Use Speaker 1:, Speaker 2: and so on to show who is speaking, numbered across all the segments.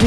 Speaker 1: Du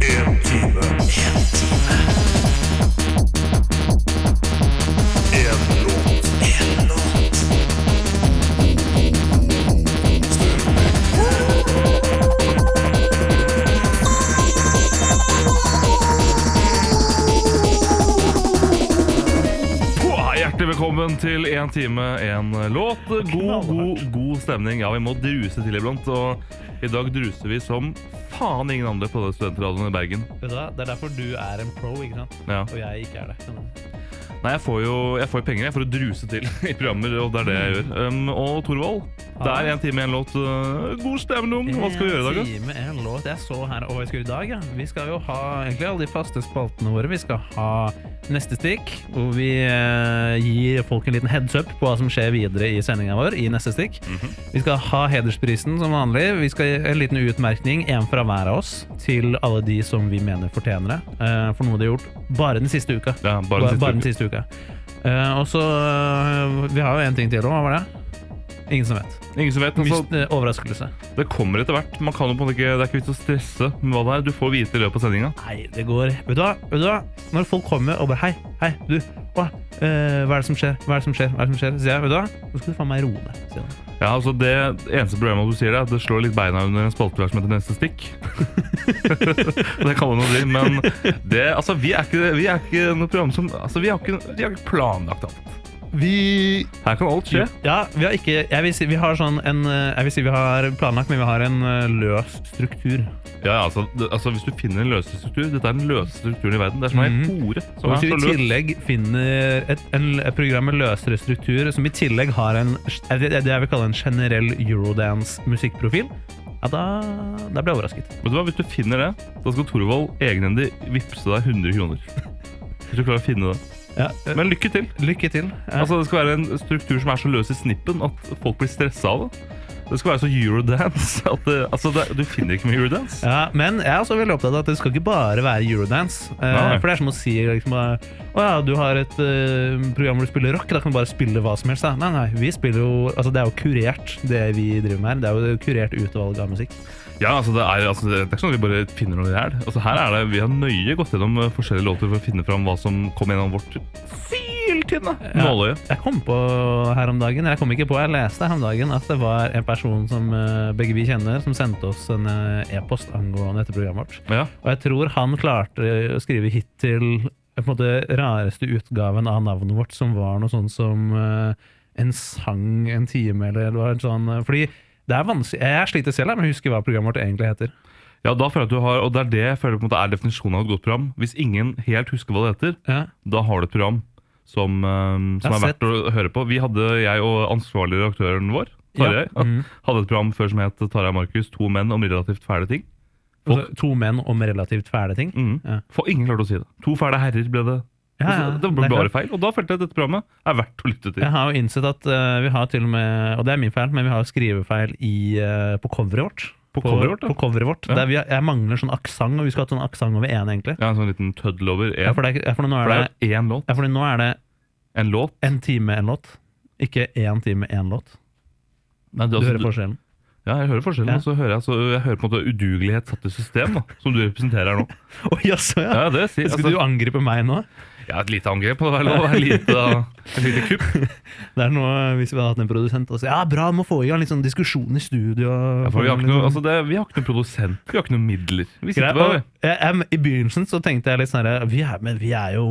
Speaker 2: En time. En låt.
Speaker 3: Åh, Hjertelig velkommen til En time, en låt. God, god, god stemning. Ja, vi må druse til iblant. Og i dag druser vi som faen ingen andre på studentradioen i Bergen.
Speaker 4: Vet du hva? Det er derfor du er en pro, ikke sant?
Speaker 3: Ja.
Speaker 4: Og jeg ikke er det.
Speaker 3: Nei, jeg får jo jeg får jo penger jeg for å druse til i programmer, og det er det jeg gjør. Um, og Thorvald, det er En time, en låt. Uh, God stemning! Hva skal vi gjøre i dag?
Speaker 4: En
Speaker 3: da?
Speaker 4: time, en låt. Jeg så her og hva jeg skulle i dag. Ja. Vi skal jo ha egentlig alle de faste spaltene våre. Vi skal ha neste stikk, hvor vi eh, gir folk en liten heads up på hva som skjer videre i sendinga vår i neste stikk.
Speaker 3: Mhm.
Speaker 4: Vi skal ha hedersprisen som vanlig. Vi skal gi en liten utmerkning, en fra hver av oss, til alle de som vi mener fortjener det, eh, for noe de har gjort bare den siste uka.
Speaker 3: Ja, bare
Speaker 4: Bare, bare
Speaker 3: en
Speaker 4: den
Speaker 3: siste uke.
Speaker 4: siste uka. Eh, og så eh, Vi har jo en ting til òg, hva var det? Ingen som vet.
Speaker 3: Ingen som vet.
Speaker 4: Myst,
Speaker 3: Altså,
Speaker 4: eh, overraskelse.
Speaker 3: det kommer etter hvert. Man kan jo på en måte ikke, Det er ikke vits å stresse med hva det er. Du får vite i løpet av sendinga.
Speaker 4: Nei, det går Vet du hva? Vet du hva? Når folk kommer og bare Hei, hei, du. Å, eh, hva er det som skjer? Hva er det som skjer? Hva er det som skjer? Så sier jeg, vet du hva? Nå skal du faen meg roe deg. sier han.
Speaker 3: Ja, altså det eneste problemet med at du sier det, er at det slår litt beina under en spaltelag som heter Neste Stikk. det kan man jo bli, men det, altså, vi er ikke, vi er ikke noe program som altså, vi, har ikke, vi har ikke planlagt alt. Her kan alt skje.
Speaker 4: Ja, vi har ikke Jeg vil si vi har sånn en eh, Jeg vil si vi har planlagt, men vi har en eh, løs struktur.
Speaker 3: Ja, ja, altså, det, altså Hvis du finner en løse struktur Dette er den løse strukturen i verden. Det er som ei
Speaker 4: Mhm.
Speaker 3: hore som
Speaker 4: Og
Speaker 3: er
Speaker 4: hvis vi
Speaker 3: så
Speaker 4: i
Speaker 3: løs.
Speaker 4: tillegg finner et, en, et program med løsere struktur, som i tillegg har en, det det jeg vil kalle en generell eurodance-musikkprofil, ja, da, da blir jeg overrasket.
Speaker 3: Vet du hva, Hvis du finner det, da skal Thorvald egenhendig vippse deg 100 kroner. Hvis du klarer å finne det.
Speaker 4: Ja, eh,
Speaker 3: Men lykke til.
Speaker 4: lykke til. Ja.
Speaker 3: Altså, det skal være en struktur som er så løs i snippen at folk blir stressa av det. Det skal være så eurodance at det, altså det, du finner ikke mye eurodance.
Speaker 4: Ja, men jeg er også veldig opptatt av at det skal ikke bare være eurodance. Eh,
Speaker 3: Nei.
Speaker 4: for det er som å si liksom, eh, Å ja, du har et eh, program hvor du spiller rock, da kan du bare spille hva som helst. Da. Nei, nei, vi spiller jo Altså, det er jo kurert, det vi driver med her. Det er jo kurert utvalg av musikk.
Speaker 3: Ja, altså det, er, altså det er ikke sånn at vi bare finner noe i hjel. Altså her er det, vi har nøye gått gjennom eh, forskjellige låter for å finne fram hva som kom gjennom vårt syltynne nåløye.
Speaker 4: Jeg kom på her om dagen, jeg kom ikke på, jeg leste her om dagen at det var en person som eh, begge vi kjenner, som sendte oss en eh, e-post angående dette programmet vårt.
Speaker 3: Ja.
Speaker 4: Og jeg tror han klarte å skrive hit til eh, på en måte rareste utgaven av navnet vårt, som var noe sånn som eh, en sang, en time, eller det var en sånn eh, Fordi det er vanskelig Jeg sliter selv her med å huske hva programmet vårt egentlig heter.
Speaker 3: ja, da føler jeg at du har, og det er det jeg føler på en måte er definisjonen av et godt program. Hvis ingen helt husker hva det heter,
Speaker 4: Ja.
Speaker 3: da har du et program som, eh,
Speaker 4: Jeg
Speaker 3: som er
Speaker 4: har
Speaker 3: verdt å høre på. Vi hadde, jeg og ansvarlig redaktøren vår, Tarjei,
Speaker 4: Ja. Mhm.
Speaker 3: hadde et program før som het Tarjei og Markus, to menn om relativt fæle ting.
Speaker 4: Altså, to menn om relativt fæle ting.
Speaker 3: Mhm.
Speaker 4: Ja.
Speaker 3: For ingen klarte å si det. To fæle herrer ble det.
Speaker 4: Ja, ja,
Speaker 3: Altså, det ble
Speaker 4: det er
Speaker 3: bare
Speaker 4: klart.
Speaker 3: feil. Og da følte jeg at dette programmet er verdt å lytte til.
Speaker 4: Jeg har jo innsett at eh, vi har til og med Og det er min feil, men vi har jo skrivefeil i, eh, på coveret vårt.
Speaker 3: På coveret vårt, ja.
Speaker 4: På coveret vårt.
Speaker 3: Ja.
Speaker 4: Der vi, har- jeg mangler sånn aksent, og vi skulle hatt sånn aksent over én, egentlig.
Speaker 3: Jeg har en sånn liten tøddel over én.
Speaker 4: Ja, for, det er, ikke- ja, for, nå
Speaker 3: for
Speaker 4: er
Speaker 3: det
Speaker 4: det,
Speaker 3: er jo én låt.
Speaker 4: ja, for nå er det
Speaker 3: En låt.
Speaker 4: en time, en låt. Ikke én time, én låt.
Speaker 3: Nei,
Speaker 4: Du
Speaker 3: altså-
Speaker 4: hører forskjellen.
Speaker 3: Ja, jeg hører forskjellen.
Speaker 4: Ja.
Speaker 3: Og så hører jeg, så jeg hører på en måte udugelighet satt i system, da, som du representerer nå.
Speaker 4: Å jaså, ja!
Speaker 3: Ja, det sier
Speaker 4: Skulle du
Speaker 3: altså,
Speaker 4: angripe meg nå?
Speaker 3: Ja, et lite angrep på det. Vel, og et lite, et lite kupp.
Speaker 4: Det er noe hvis vi hadde hatt en produsent og sagt ja, bra, må få i gang litt sånn diskusjon i studio.
Speaker 3: Ja, for vi, har
Speaker 4: Få
Speaker 3: ikke noe,
Speaker 4: litt sånn-
Speaker 3: altså det, vi har ikke noe produsent, vi har ikke noen midler. Vi sitter
Speaker 4: Greit,
Speaker 3: bare
Speaker 4: og jeg, jeg, I begynnelsen så tenkte jeg litt sånn her vi, er- men vi er jo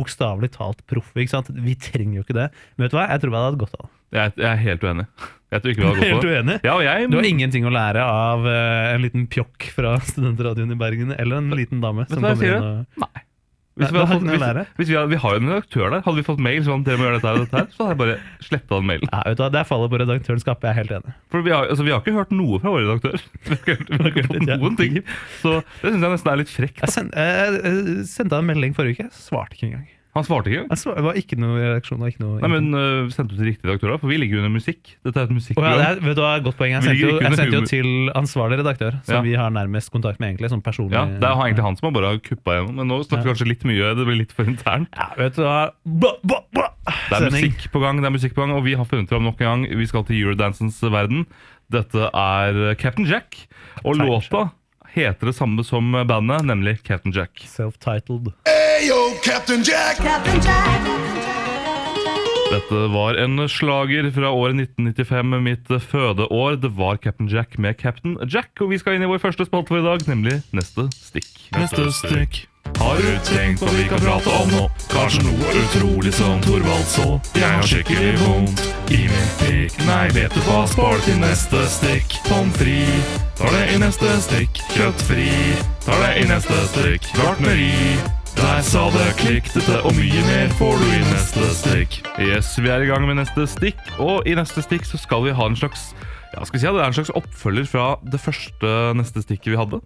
Speaker 4: bokstavelig talt proffe, ikke sant? Vi trenger jo ikke det. Men vet du hva? Jeg tror jeg hadde hatt godt av det.
Speaker 3: jeg, jeg er helt uenig. Jeg tror ikke vi har gått
Speaker 4: Helt
Speaker 3: på det.
Speaker 4: uenig.
Speaker 3: Ja, og jeg,
Speaker 4: Du har ingenting å lære av eh, en liten pjokk fra studentradioen i Bergen, eller en liten dame
Speaker 3: Vet du
Speaker 4: som
Speaker 3: hva jeg
Speaker 4: kommer
Speaker 3: sier?
Speaker 4: inn og
Speaker 3: Nei.
Speaker 4: Nei,
Speaker 3: Hvis vi,
Speaker 4: da
Speaker 3: hadde
Speaker 4: har
Speaker 3: fått,
Speaker 4: vi noe å lære.
Speaker 3: hvis, hvis vi, hadde, vi har jo en redaktør der. Hadde vi fått mail sånn, dere må gjøre dette her og dette her, så hadde jeg bare sletta den mailen.
Speaker 4: Nei, vet du hva? Der faller på redaktørens kappe, jeg er helt enig.
Speaker 3: For vi har, altså, vi har ikke hørt noe fra vår redaktør. Vi har ikke hørt, vi har ikke hørt noen ting. Så det syns jeg nesten er litt frekt.
Speaker 4: eh, Jeg, send, jeg, jeg sendte han en melding forrige uke, svarte ikke engang.
Speaker 3: Han svarte ikke engang.
Speaker 4: Altså, Det var ikke noe reaksjon. Ikke noe
Speaker 3: Nei, men øh, Sendte du til riktig redaktør, da? For vi ligger jo under musikk. Dette er et
Speaker 4: Å ja,
Speaker 3: musikkprogram.
Speaker 4: det er, vet du hva, Godt poeng. Jeg
Speaker 3: Vi
Speaker 4: sendte, jo,
Speaker 3: ligger ikke
Speaker 4: jeg
Speaker 3: under
Speaker 4: sendte jo
Speaker 3: humor.
Speaker 4: til ansvarlig redaktør, som
Speaker 3: Ja.
Speaker 4: vi har nærmest kontakt med, egentlig. Som personlig
Speaker 3: Ja, det er han- egentlig han som har bare kuppa gjennom. Men nå snakker vi kanskje litt mye. Det blir litt for internt.
Speaker 4: Ja, vet du hva bla, bla, bla.
Speaker 3: Det er
Speaker 4: Sending.
Speaker 3: musikk på gang, det er musikk på gang, og vi har funnet fram nok en gang. Vi skal til Eurodancens verden. Dette er eh, Captain Jack, og
Speaker 4: Captain
Speaker 3: låta heter det samme som bandet, nemlig Captain Jack.
Speaker 4: Self-titled.
Speaker 2: Ayo, Captain Jack!
Speaker 3: Dette var en slager fra året 1995, mitt eh, fødeår. Det var Captain Jack med Captain Jack, og vi skal inn i vår første spalte for i dag, nemlig Neste stikk. Neste stikk. Har du tenkt på vi kan prate om nå? Kanskje noe utrolig som Thorvald så? Jeg har skikkelig vondt i min pikk. Nei, vet du hva, spar det til neste stikk. Pommes frites tar det i neste stikk. Kjøttfri tar det i neste stikk. Gartneri. Der sa det klikk, dette og mye mer får du i neste stikk. Yes, vi er i gang med neste stikk, og i neste stikk så skal vi ha en slags ja, skal vi si at det er en slags oppfølger fra det første neste stikket vi hadde.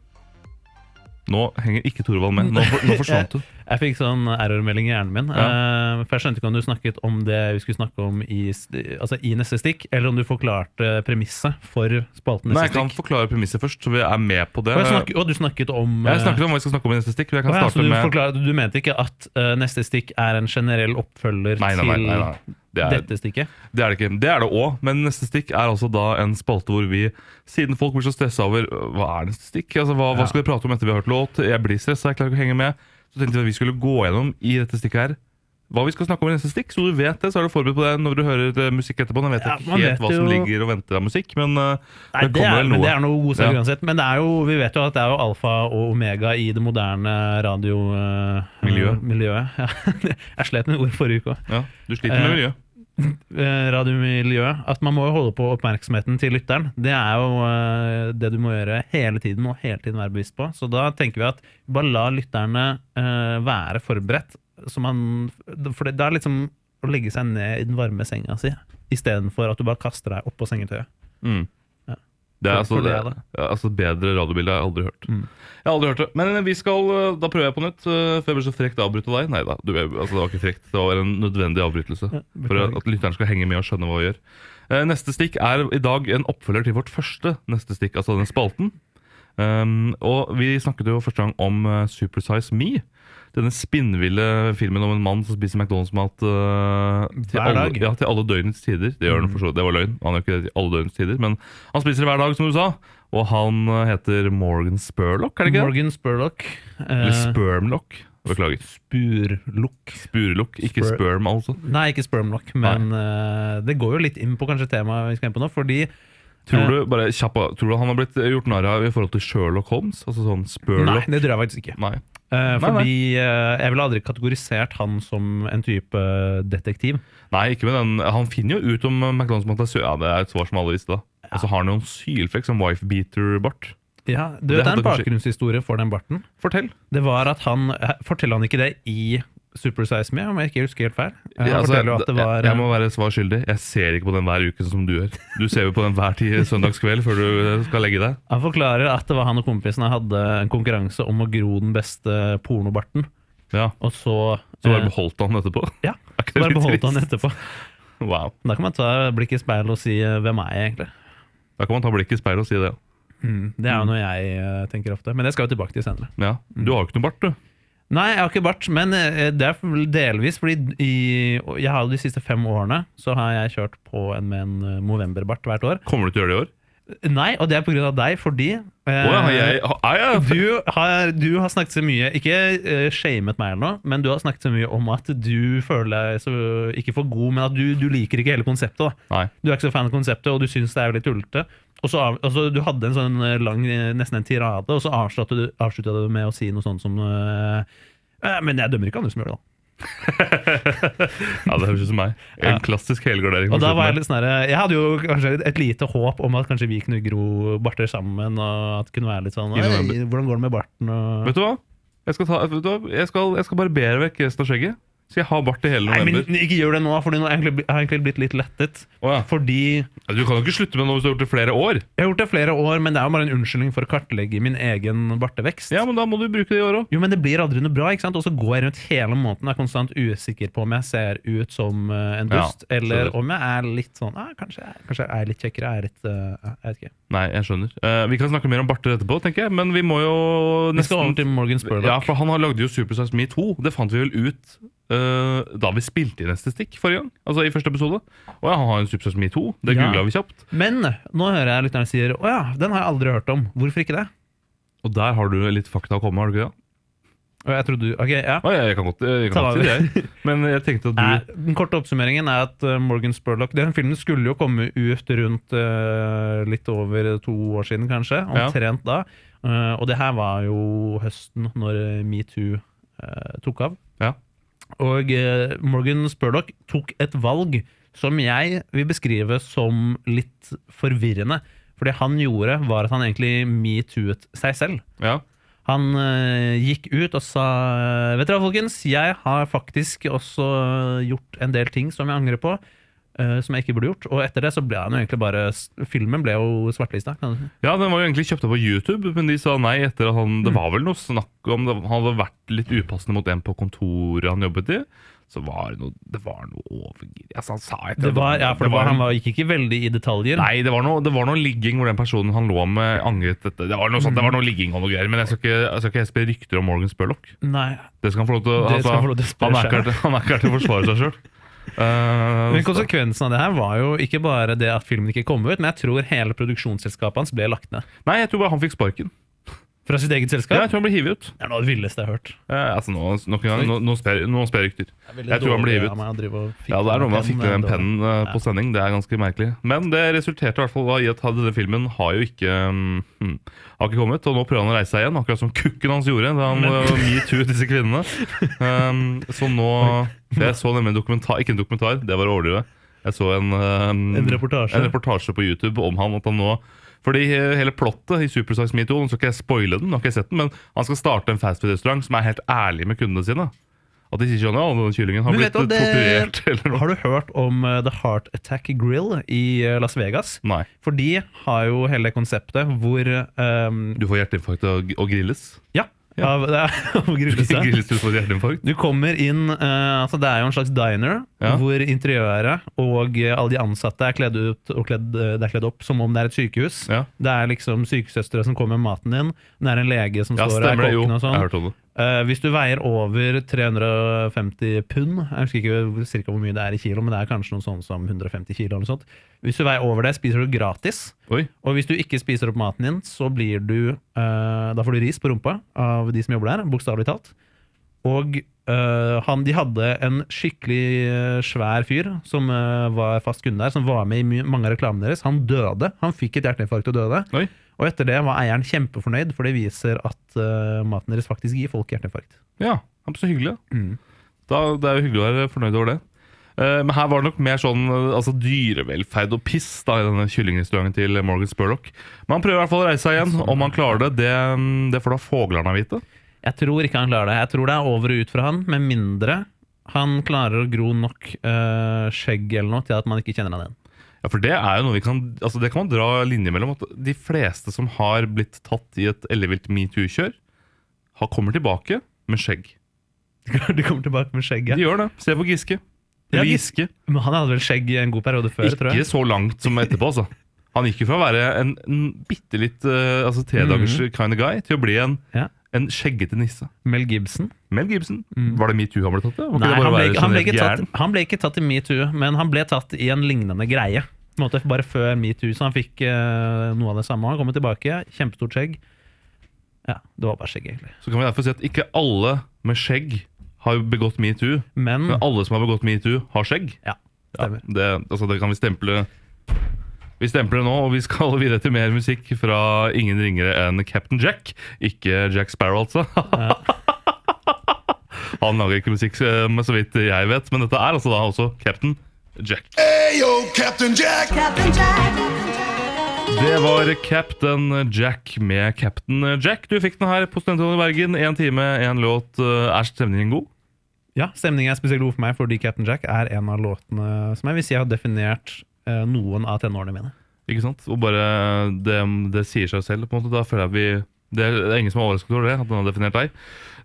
Speaker 3: Nå henger ikke Thorvald med. Nå, for, nå forsvant du.
Speaker 4: Jeg fikk sånn errormelding i hjernen min. eh, for jeg skjønte ikke om du snakket om det vi skulle snakke om i, st- altså i neste stikk, eller om du forklarte premisset for spalten
Speaker 3: Nei,
Speaker 4: neste
Speaker 3: jeg kan
Speaker 4: stikk.
Speaker 3: forklare premisset først, så vi er med på det.
Speaker 4: Og, jeg snakke, og du snakket om
Speaker 3: Jeg
Speaker 4: eh,
Speaker 3: snakket om hva vi skal snakke om i neste stikk. men Jeg kan
Speaker 4: Å ja, så
Speaker 3: starte
Speaker 4: du,
Speaker 3: med...
Speaker 4: forklarer- du mente ikke at eh, neste stikk er en generell oppfølger
Speaker 3: Nei, nei, nei, nei, nei. Det,
Speaker 4: til
Speaker 3: er,
Speaker 4: dette stikket?
Speaker 3: det er det ikke. Det er det òg, men neste stikk er altså da en spalte hvor vi, siden folk blir så stressa over øh, hva er neste stikk, altså hva,
Speaker 4: Ja.
Speaker 3: hva skal vi prate om etter vi har hørt låt, jeg blir stressa, jeg klarer ikke å henge med, så tenkte vi at vi skulle gå gjennom i dette stikket her hva vi skal snakke om i neste stikk, så du vet det, så er du forberedt på det når du hører eh, musikk etterpå. Nå vet
Speaker 4: Ja,
Speaker 3: jeg ikke
Speaker 4: man
Speaker 3: helt
Speaker 4: vet
Speaker 3: hva som
Speaker 4: jo-
Speaker 3: ligger og venter av musikk, men eh,
Speaker 4: Nei, det,
Speaker 3: kommer
Speaker 4: er,
Speaker 3: vel
Speaker 4: men
Speaker 3: noe.
Speaker 4: det er noe god sak
Speaker 3: Ja.
Speaker 4: uansett. Men det er jo, vi vet jo at det er jo alfa og omega i det moderne
Speaker 3: Miljø.
Speaker 4: radiomiljøet. miljøet. Ja. Jeg slet med ord forrige uke òg.
Speaker 3: ja, du sliter med
Speaker 4: Eh,
Speaker 3: miljøet.
Speaker 4: eh, radiomiljøet, at man må jo holde på oppmerksomheten til lytteren. Det er jo eh, det du må gjøre hele tiden, og hele tiden være bevisst på. Så da tenker vi at bare la lytterne eh, være forberedt. Så man, for det, det er liksom å legge seg ned i den varme senga si, istedenfor at du bare kaster deg oppå sengetøyet.
Speaker 3: Mm.
Speaker 4: Ja.
Speaker 3: Det er altså,
Speaker 4: For- for det
Speaker 3: det,
Speaker 4: er det.
Speaker 3: ja, altså bedre radiobilde har jeg aldri hørt.
Speaker 4: Mm.
Speaker 3: Jeg har aldri hørt det. Men vi skal, eh, da prøver jeg på nytt, eh, før jeg blir så frekt avbrutt av deg. Nei da, du, jeg- altså, det var ikke frekt. Det var en nødvendig avbrytelse. For
Speaker 4: beklager.
Speaker 3: at lytteren skal henge med og skjønne hva vi gjør. Eh, Neste stikk er i dag en oppfølger til vårt første neste stikk, altså den spalten. Um, og vi snakket jo første gang om eh, Supersize Me. Denne spinnville filmen om en mann som spiser McDonald's-mat eh, til,
Speaker 4: Hver
Speaker 3: alle-
Speaker 4: dag. Mm.
Speaker 3: ja, til alle døgnets tider. Det gjør han for så vidt. Det var løgn. Han gjør ikke det til alle døgnets tider, men han spiser det hver dag, som du sa. Og han eh, heter Morgan Spurlock, er det ikke det?
Speaker 4: Morgan Spurlock. eh,
Speaker 3: Eller Spermlock. Beklager.
Speaker 4: Spurlock.
Speaker 3: Spurlock, ikke
Speaker 4: Spur-
Speaker 3: sperm, altså.
Speaker 4: Nei, ikke Spermlock, men eh, det går jo litt inn på kanskje temaet vi skal inn på nå, fordi Eh.
Speaker 3: Tror du, bare kjappa, tror du han har blitt eh, gjort narr av i forhold til Sherlock Holmes? Altså sånn
Speaker 4: Nei,
Speaker 3: Spurlock?
Speaker 4: det tror jeg faktisk ikke.
Speaker 3: Nei.
Speaker 4: Eh,
Speaker 3: Nei,
Speaker 4: fordi eh, jeg ville aldri kategorisert han som en type detektiv.
Speaker 3: Nei, ikke med den. Han finner jo ut om eh, McDonald's måtte sø... Ja, det er et svar som alle visste, da. Og så har han jo en sylflekk som wife-beater-bart.
Speaker 4: Ja,
Speaker 3: Det
Speaker 4: du vet, det er
Speaker 3: hadde
Speaker 4: en
Speaker 3: kanskje-
Speaker 4: bakgrunnshistorie for den barten.
Speaker 3: Fortell.
Speaker 4: Det var at han eh, Forteller han ikke det i Super Size Me, om jeg ikke husker helt feil? Eh, Han
Speaker 3: Ja, altså,
Speaker 4: forteller jo at det
Speaker 3: jeg,
Speaker 4: var eh,
Speaker 3: jeg må være svar skyldig. Jeg ser ikke på den hver uke sånn som du gjør. Du ser jo på den hver tid søndagskveld før du skal legge deg.
Speaker 4: eh, Han forklarer at det var han og kompisene hadde en konkurranse om å gro den beste pornobarten,
Speaker 3: Ja,
Speaker 4: og så
Speaker 3: Så bare
Speaker 4: eh,
Speaker 3: beholdt han etterpå?
Speaker 4: ja,
Speaker 3: Er ikke det
Speaker 4: bare
Speaker 3: litt
Speaker 4: beholdt han
Speaker 3: trist?
Speaker 4: etterpå.
Speaker 3: Wow.
Speaker 4: Da kan man ta blikket i speilet og si eh, 'hvem er jeg', egentlig.
Speaker 3: Da kan man ta blikket i speilet og si det. Mm.
Speaker 4: Det er jo noe jeg eh, tenker ofte, men det skal vi tilbake til senere.
Speaker 3: Ja, Du har jo ikke noe bart, du.
Speaker 4: Nei, jeg har ikke bart, men eh, det er vel delvis fordi i, jeg har jo de siste fem årene så har jeg kjørt på en med en eh, Movember-bart hvert år.
Speaker 3: Kommer du til å gjøre det i år?
Speaker 4: Nei, og det er pga. deg, fordi eh,
Speaker 3: Å ja, jeg, er jeg?
Speaker 4: du, har, du har snakket så mye Ikke eh, shamet meg eller noe, men du har snakket så mye om at du føler deg så, ikke for god, men at du, du liker ikke hele konseptet. da
Speaker 3: Nei.
Speaker 4: Du er ikke så fan av konseptet, og du syns det er veldig tullete. Og så, av- og så Du hadde en sånn eh, lang, eh, nesten en tirade, og så avslutta du, avsluttet du med å si noe sånt som eh, «Eh, Men jeg dømmer ikke andre som gjør det, da.
Speaker 3: Ja, Det høres ut som meg. En klassisk helgardering.
Speaker 4: Og da var jeg litt sånn her, Jeg hadde jo kanskje et lite håp om at kanskje vi kunne gro barter sammen, og at det kunne være litt sånn
Speaker 3: I november.
Speaker 4: «Oi, Hvordan går det med barten? Og...
Speaker 3: Vet du hva? Jeg skal, ta, vet du hva? Jeg skal, jeg skal barbere vekk resten av skjegget. Skal jeg ha bart i hele
Speaker 4: Nei, men
Speaker 3: november?
Speaker 4: Ikke gjør det nå, for nå har jeg egentlig bli- har jeg egentlig blitt litt lettet.
Speaker 3: Å, ja.
Speaker 4: Fordi
Speaker 3: Ja, Du kan jo ikke slutte med noe hvis du har gjort det i flere år.
Speaker 4: Jeg har gjort det flere år, men det er jo bare en unnskyldning for å kartlegge min egen bartevekst.
Speaker 3: Ja, men da må du bruke det i år òg.
Speaker 4: Jo, men det blir aldri noe bra, ikke sant? Og så går jeg rundt hele måneden og er konstant usikker på om jeg ser ut som eh, en
Speaker 3: Ja,
Speaker 4: dust, eller
Speaker 3: skjønner.
Speaker 4: om jeg er litt sånn ah, kanskje, jeg, kanskje jeg er litt kjekkere, jeg er litt eh, Jeg vet ikke.
Speaker 3: Nei, jeg skjønner. Eh, vi kan snakke mer om barter etterpå, tenker jeg, men vi må jo
Speaker 4: Vi skal over til Morgan Spurlock.
Speaker 3: Ja, for han har lagde jo Superstars Me 2. Det fant vi vel ut eh, da vi spilte i Neste Stikk forrige gang. Altså i første episode. Og ja, han har en Superstars Me 2. Det
Speaker 4: Ja.
Speaker 3: googlet googla vi kjapt.
Speaker 4: Men eh, nå hører jeg lytterne sier å ja, den har jeg aldri hørt om. Hvorfor ikke det?
Speaker 3: Og der har du litt fakta å komme med, har du ikke det?
Speaker 4: Og jeg trodde, ok, ja.
Speaker 3: Å, jeg kan godt, jeg kan
Speaker 4: Ta
Speaker 3: godt si det, Eh. jeg. Men jeg tenkte at
Speaker 4: Nei,
Speaker 3: du
Speaker 4: Den korte oppsummeringen er at eh, Morgan Spurlock Den filmen skulle jo komme ut rundt eh, litt over to år siden, kanskje.
Speaker 3: Ja.
Speaker 4: Omtrent da. Eh, og det her var jo høsten, når eh, metoo eh, tok av.
Speaker 3: Ja.
Speaker 4: Og eh, Morgan Spurlock tok et valg som jeg vil beskrive som litt forvirrende. For det han gjorde, var at han egentlig metoo-et seg selv.
Speaker 3: Ja.
Speaker 4: Han eh, gikk ut og sa Vet dere hva, folkens, jeg har faktisk også gjort en del ting som jeg angrer på. eh, som jeg ikke burde gjort. Og etter det så ble han jo egentlig bare Filmen ble jo svartlista. kan du si.
Speaker 3: Ja, Den var jo egentlig kjøpt opp på YouTube, men de sa nei etter at han Det var vel noe snakk om det, Han hadde vært litt upassende mot en på kontoret han jobbet i. Så var det noe Det var noe overgrep altså, Han sa et eller
Speaker 4: Det var,
Speaker 3: annet.
Speaker 4: ja, for det var, han var, gikk ikke veldig i detaljer.
Speaker 3: Nei, det var, noe, det var noe ligging hvor den personen han lå med, angret dette. Det var noe sånt, det var
Speaker 4: Mm.
Speaker 3: noe ligging og noe greier, men jeg skal ikke, jeg skal ikke spre rykter om Morgan Spurlock.
Speaker 4: Nei.
Speaker 3: Det skal han få lov til å altså,
Speaker 4: Det skal han få lov til å spre
Speaker 3: han, er ikke
Speaker 4: selv.
Speaker 3: her til- han er ikke her til å forsvare seg Eh, sjøl.
Speaker 4: Men konsekvensen av det her var jo ikke bare det at filmen ikke kom ut, men jeg tror hele produksjonsselskapet hans ble lagt ned.
Speaker 3: nei, jeg tror bare han fikk sparken.
Speaker 4: Fra sitt eget
Speaker 3: Ja,
Speaker 4: selskap.
Speaker 3: jeg tror han ble hivet ut.
Speaker 4: Det er noe av det villeste jeg har hørt.
Speaker 3: Eh, altså, nå, nok en gang, nå, nå sprer nå sprer jeg rykter. Jeg tror han ble hivet. Ja, det er noe med å fikle den pennen eh, på sending. Det er ganske merkelig. Men det resulterte i hvert fall da i at denne filmen har jo ikke mm, hmm, Har ikke kommet. Og nå prøver han å reise seg igjen, akkurat som kukken hans gjorde da han eh, metoo disse kvinnene. Um, så nå Jeg så nemlig en dokumentar Ikke en dokumentar, det var å overdrive. Jeg så en, um,
Speaker 4: En reportasje.
Speaker 3: en reportasje på YouTube om han. At han nå fordi he- hele plottet i Supersize Me Too, nå skal ikke jeg spoile den, nå har ikke jeg sett den, men han skal starte en fastfood-restaurant som er helt ærlig med kundene sine. At de ikke skjønner at den kyllingen har
Speaker 4: Men
Speaker 3: blitt
Speaker 4: vet du hva, det-
Speaker 3: torturert eller noe.
Speaker 4: Har du hørt om eh, The Heart Attack Grill i eh, Las Vegas?
Speaker 3: Nei.
Speaker 4: For de har jo hele konseptet hvor ehm,
Speaker 3: Du får hjerteinfarkt og, og grilles.
Speaker 4: Ja,
Speaker 3: Ja.
Speaker 4: Av, det er, av grunnløse.
Speaker 3: grilles til du får hjerteinfarkt.
Speaker 4: Du kommer inn eh, altså Det er jo en slags diner
Speaker 3: Ja.
Speaker 4: hvor interiøret og eh, alle de ansatte er kledd ut og kledd, eh, det er kledd opp som om det er et sykehus.
Speaker 3: Ja.
Speaker 4: Det er liksom sykesøstre som kommer med maten din. Det er en lege som
Speaker 3: Ja,
Speaker 4: står der.
Speaker 3: stemmer det. Jo,
Speaker 4: kokken og
Speaker 3: jeg
Speaker 4: sånn.
Speaker 3: har hørt om det.
Speaker 4: Eh, hvis du veier over 350 pund Jeg husker ikke hvor- cirka hvor mye det er i kilo, men det er kanskje noe sånn som 150 kilo. Eller noe sånt. Hvis du veier over det, spiser du gratis.
Speaker 3: Oi.
Speaker 4: Og hvis du ikke spiser opp maten din, så blir du eh, Da får du ris på rumpa av de som jobber der, bokstavelig talt. Og eh, han, de hadde en skikkelig eh, svær fyr som eh, var fast kunde der, som var med i my mange av reklamene deres. Han døde. Han fikk et hjerteinfarkt og døde.
Speaker 3: Oi.
Speaker 4: Og etter det var eieren kjempefornøyd, for det viser at eh, maten deres faktisk gir folk hjerteinfarkt.
Speaker 3: Ja, ja, men så hyggelig. da.
Speaker 4: Mm.
Speaker 3: Da, det er jo hyggelig å være fornøyd over det. Eh, men her var det nok mer sånn eh, altså dyrevelferd og piss da, i denne kyllingrestauranten til Morgan Spurlock. Men han prøver i hvert fall å reise seg igjen. Om han klarer det, det, mm, det får da fuglene vite.
Speaker 4: Jeg tror ikke han klarer det. Jeg tror det er over og ut fra han, med mindre han klarer å gro nok eh, skjegg eller noe til at man ikke kjenner han igjen.
Speaker 3: Ja, for Det er jo noe vi kan Altså det kan man dra linje mellom. At de fleste som har blitt tatt i et ellevilt metoo-kjør, har- kommer tilbake med skjegg.
Speaker 4: Du kommer tilbake med
Speaker 3: De
Speaker 4: skjegget.
Speaker 3: gjør det. Se på Giske.
Speaker 4: Ja, Gis-
Speaker 3: Giske.
Speaker 4: Men han hadde vel skjegg i en god periode før, tror
Speaker 3: Ikke
Speaker 4: jeg.
Speaker 3: så langt som etterpå, altså. Han gikk jo fra å være en, en bitte litt uh, altså, tredagers
Speaker 4: Mhm.
Speaker 3: kind of guy til å bli en,
Speaker 4: Ja.
Speaker 3: en skjeggete nisse.
Speaker 4: Mel Gibson.
Speaker 3: Mel Gibson. Var det metoo han ble tatt i? Var ikke
Speaker 4: Mhm. Nei,
Speaker 3: det bare
Speaker 4: han
Speaker 3: å
Speaker 4: ble,
Speaker 3: være
Speaker 4: ikke- han, ble
Speaker 3: generelt
Speaker 4: ikke tatt,
Speaker 3: gæren?
Speaker 4: han ble ikke tatt i metoo, men han ble tatt i en lignende greie. På en måte Bare før metoo, så han fikk eh, noe av det samme. Han kommer tilbake, kjempestort skjegg. Ja, det var bare skjegg, egentlig.
Speaker 3: Så kan vi derfor si at ikke alle med skjegg har begått metoo,
Speaker 4: Men
Speaker 3: men alle som har begått metoo, har skjegg.
Speaker 4: ja,
Speaker 3: Ja,
Speaker 4: stemmer.
Speaker 3: det, altså det kan vi stemple Vi stempler nå, og vi skal videre til mer musikk fra ingen ringere enn Captain Jack. Ikke Jack Sparrow, altså. Han lager ikke musikk, eh, men så vidt jeg vet, men dette er altså da også Captain Jack.
Speaker 2: Ayo, Captain Jack.
Speaker 3: Det var Captain Jack med Captain Jack. Du fikk den her på Studentradioen i Bergen. Én time, én låt. Eh, Er stemningen god?
Speaker 4: Ja, stemningen er spesielt god for meg, fordi Captain Jack er en av låtene som jeg vil si har definert eh, noen av tenårene mine.
Speaker 3: Ikke sant? Og bare det, det sier seg selv, på en måte. Da føler jeg vi det er, det er ingen som er overrasket over det, at den har definert deg.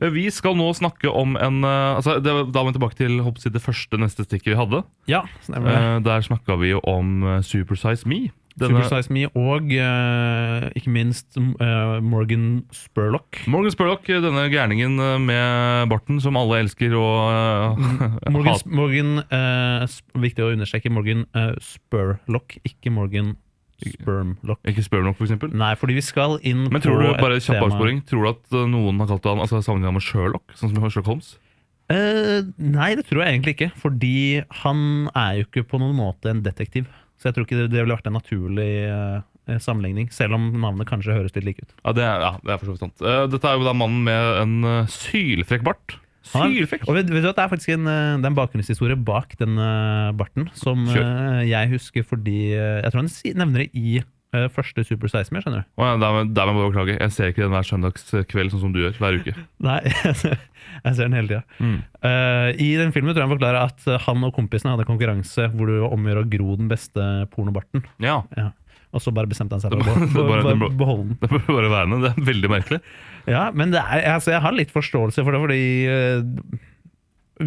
Speaker 3: Eh, Vi skal nå snakke om en eh, altså, det, Da må vi tilbake til håper jeg, det første neste stikket vi hadde.
Speaker 4: Ja, stemmer det.
Speaker 3: Eh, Der snakka vi jo om eh, Supersize Me. Denne-
Speaker 4: Super Size Me og eh, ikke minst eh, Morgan Spurlock.
Speaker 3: Morgan Spurlock, eh, denne gærningen eh, med barten som alle elsker og eh,
Speaker 4: Morgan,
Speaker 3: hater.
Speaker 4: Morgan eh, sp Viktig å understreke Morgan eh, Spurlock, ikke Morgan Spermlock.
Speaker 3: Ikke spør nok, for eksempel.
Speaker 4: Nei, fordi vi skal inn
Speaker 3: Men tror du,
Speaker 4: Mm. på et
Speaker 3: bare kjapp
Speaker 4: tema-
Speaker 3: avsporing, tror du at eh, noen har kalt han altså, sammenlignet med Sherlock? Sånn som Sherlock Holmes?
Speaker 4: Eh, nei, det tror jeg egentlig ikke. Fordi han er jo ikke på noen måte en detektiv. Så jeg tror ikke det, det ville vært en naturlig eh, sammenligning. Selv om navnet kanskje høres litt like ut.
Speaker 3: Ja, det er, ja, det er for så vidt sant. Eh, dette er jo da mannen med en eh, sylfrekk bart.
Speaker 4: Han er-
Speaker 3: Sylfrekk!
Speaker 4: Og vet, vet du at Det er faktisk en, eh, det er en bakgrunnshistorie bak den eh, barten, som
Speaker 3: Kjør.
Speaker 4: eh, jeg husker fordi eh, Jeg tror han si- nevner det i eh, første Super 16, jeg skjønner du.
Speaker 3: Å ja, der må der må jeg bare beklage. Jeg ser ikke den hver søndagskveld sånn som du gjør hver uke.
Speaker 4: Nei, jeg ser den hele tida.
Speaker 3: Mm.
Speaker 4: I den filmen tror jeg han forklarer at eh, han og kompisene hadde konkurranse hvor du omgjør å gro den beste pornobarten.
Speaker 3: Ja,
Speaker 4: Ja. Og så bare bestemte han seg for å
Speaker 3: Det
Speaker 4: be-
Speaker 3: bare-
Speaker 4: be-
Speaker 3: det bare-
Speaker 4: be- beholde den.
Speaker 3: Det bør bare være med. Det er veldig merkelig.
Speaker 4: Ja, men det er, altså, jeg har litt forståelse for det, fordi eh,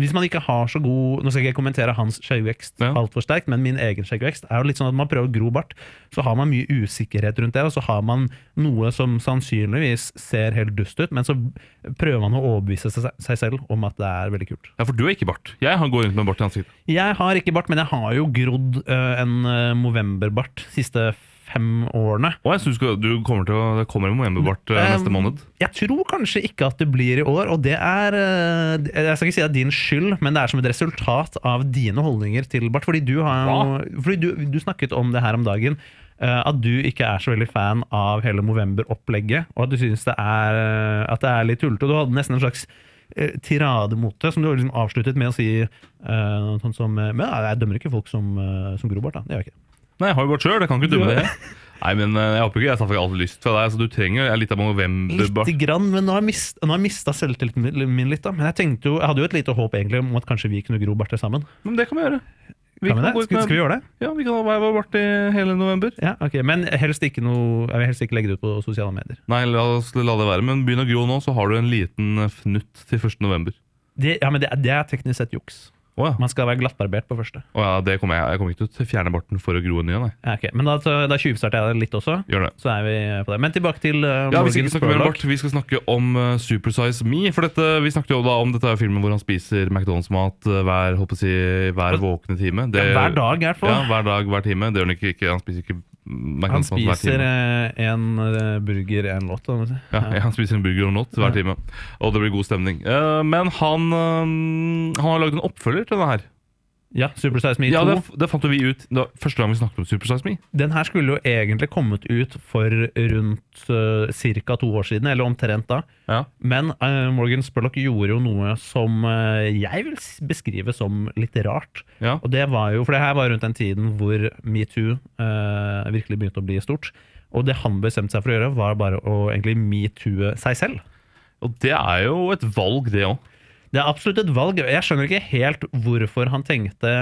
Speaker 4: hvis man ikke har så god Nå skal ikke jeg kommentere hans skjeggvekst
Speaker 3: Ja.
Speaker 4: altfor sterkt, men min egen skjeggvekst er jo litt sånn at man prøver å gro bart, så har man mye usikkerhet rundt det, og så har man noe som sannsynligvis ser helt dust ut, men så prøver man å overbevise seg, seg selv om at det er veldig kult.
Speaker 3: Ja, For du er ikke bart. Jeg har- går rundt med bart i ansiktet.
Speaker 4: Jeg har ikke bart, men jeg har jo grodd eh, en eh, Movember-bart siste fem årene.
Speaker 3: Og jeg synes du, skal- du kommer til å, Det kommer en Moember-bart eh, neste
Speaker 4: Um,
Speaker 3: måned.
Speaker 4: Jeg tror kanskje ikke at det blir i år, og det er eh, Jeg skal ikke si det er din skyld, men det er som et resultat av dine holdninger til bart. Fordi du, har, jo- fordi du, du snakket om det her om dagen, eh, at du ikke er så veldig fan av hele Movember-opplegget, og at du syns det, er, eh, at det er litt tullete. Og du hadde nesten en slags eh, tirade mot det, som du liksom avsluttet med å si eh, noe sånt som eh, Men ja, jeg dømmer ikke folk som, eh, som gror bart, da. Det gjør jeg ikke.
Speaker 3: Nei, jeg har jo bart sjøl. Jeg kan ikke dumme
Speaker 4: Du-
Speaker 3: det. Nei, men eh, jeg håper ikke jeg traff alt lyst fra deg. Så du trenger jo litt av Moember-bart.
Speaker 4: Litt grann, men nå har jeg mist- nå har jeg mista selvtilliten min- min litt. da Men jeg tenkte jo, jeg hadde jo et lite håp egentlig om at kanskje vi kunne gro barter sammen.
Speaker 3: Men det kan vi gjøre. Vi
Speaker 4: Kan
Speaker 3: kan,
Speaker 4: vi det?
Speaker 3: gå ut
Speaker 4: Skal,
Speaker 3: med-
Speaker 4: skal vi gjøre det?
Speaker 3: Ja, vi kan ha hver vår bart i hele november.
Speaker 4: Ja, ok Men helst ikke noe jeg vil helst ikke legge det ut på sosiale medier.
Speaker 3: Nei, la, oss, la det være. Men begynn å gro nå, så har du en liten eh, fnutt til 1. november.
Speaker 4: Det, ja, men det, er- det er teknisk sett juks.
Speaker 3: Å ja.
Speaker 4: Man skal være glattbarbert på første.
Speaker 3: Å ja, det kommer jeg. Jeg kommer ikke til å fjerne barten for å gro en ny en. jeg.
Speaker 4: Ja, ok Men da, da tjuvstarter jeg det litt også.
Speaker 3: Gjør det.
Speaker 4: Så er vi på det. Men tilbake til uh,
Speaker 3: Ja,
Speaker 4: Morgan
Speaker 3: Vi skal ikke snakke mer om
Speaker 4: Spurlock.
Speaker 3: bart, vi skal snakke om eh, Supersize Me. For dette, Vi snakket jo da om dette er jo filmen hvor han spiser McDonald's-mat eh, hver håper jeg, å si, hver våkne time. Det-
Speaker 4: Ja, hver dag, i hvert fall.
Speaker 3: Ja, hver dag, hver time. Det gjør han ikke. ikke han spiser ikke
Speaker 4: Han
Speaker 3: McDonald's-mat sånn hver
Speaker 4: spiser
Speaker 3: time.
Speaker 4: eh, en eh, burger, en låt. kan man si.
Speaker 3: Ja, ja, han spiser en burger og en låt hver time, og det blir god stemning. Eh, men han, eh, han har lagd en oppfølger til denne her.
Speaker 4: ja Super Size Me 2.
Speaker 3: Ja, det, det fant jo vi ut da, første gang vi snakket om Supersize Me.
Speaker 4: Den her skulle jo egentlig kommet ut for rundt uh, ca. to år siden, eller omtrent da.
Speaker 3: Ja.
Speaker 4: Men eh, Morgan Spurlock gjorde jo noe som eh, jeg vil s- beskrive som litt rart.
Speaker 3: Ja.
Speaker 4: Og det var jo, For det her var rundt den tiden hvor metoo eh, virkelig begynte å bli stort. Og det han bestemte seg for å gjøre, var bare å egentlig metoo seg selv.
Speaker 3: Og det er jo et valg, det òg.
Speaker 4: Det er absolutt et valg. Jeg skjønner ikke helt hvorfor han tenkte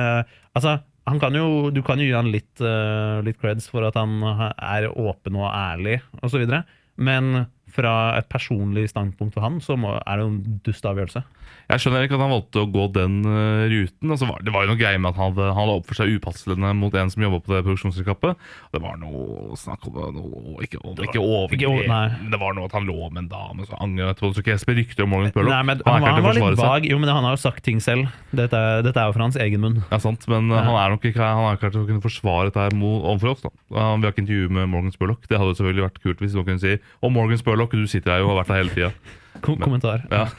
Speaker 4: Altså, han kan jo, du kan jo gi han litt, eh, litt creds for at han er åpen og ærlig osv. Men fra et personlig standpunkt for han, så må, er det jo en dust avgjørelse.
Speaker 3: Jeg skjønner ikke at han valgte å gå den eh, ruten. Altså, var- det var jo noe greie med at han hadde, han hadde oppført seg upassende mot en som jobba på det produksjonsselskapet. Det var noe snakk om noe, ikke, om, ikke
Speaker 4: ikke over-
Speaker 3: overgrep,
Speaker 4: nei.
Speaker 3: men det var noe at han lå med en dame som angret på det. Så ikke jeg spre rykter om Morgan Spurlock.
Speaker 4: Nei, men
Speaker 3: er ikke
Speaker 4: han, var- han
Speaker 3: her til å
Speaker 4: var litt
Speaker 3: forsvare seg.
Speaker 4: vag. Jo, men han har jo sagt ting selv. Dette, er- dette er jo fra hans egen munn.
Speaker 3: Ja, sant, men eh, han er nok ikke han er ikke her til å kunne forsvare dette her mo- overfor oss. da. Eh, Vi har ikke intervju med Morgan Spurlock. Det hadde jo selvfølgelig vært kult hvis noen kunne si Og Morgan Spurlock, du sitter her jo og har vært her hele tida.
Speaker 4: Ko kommentar.
Speaker 3: Ja.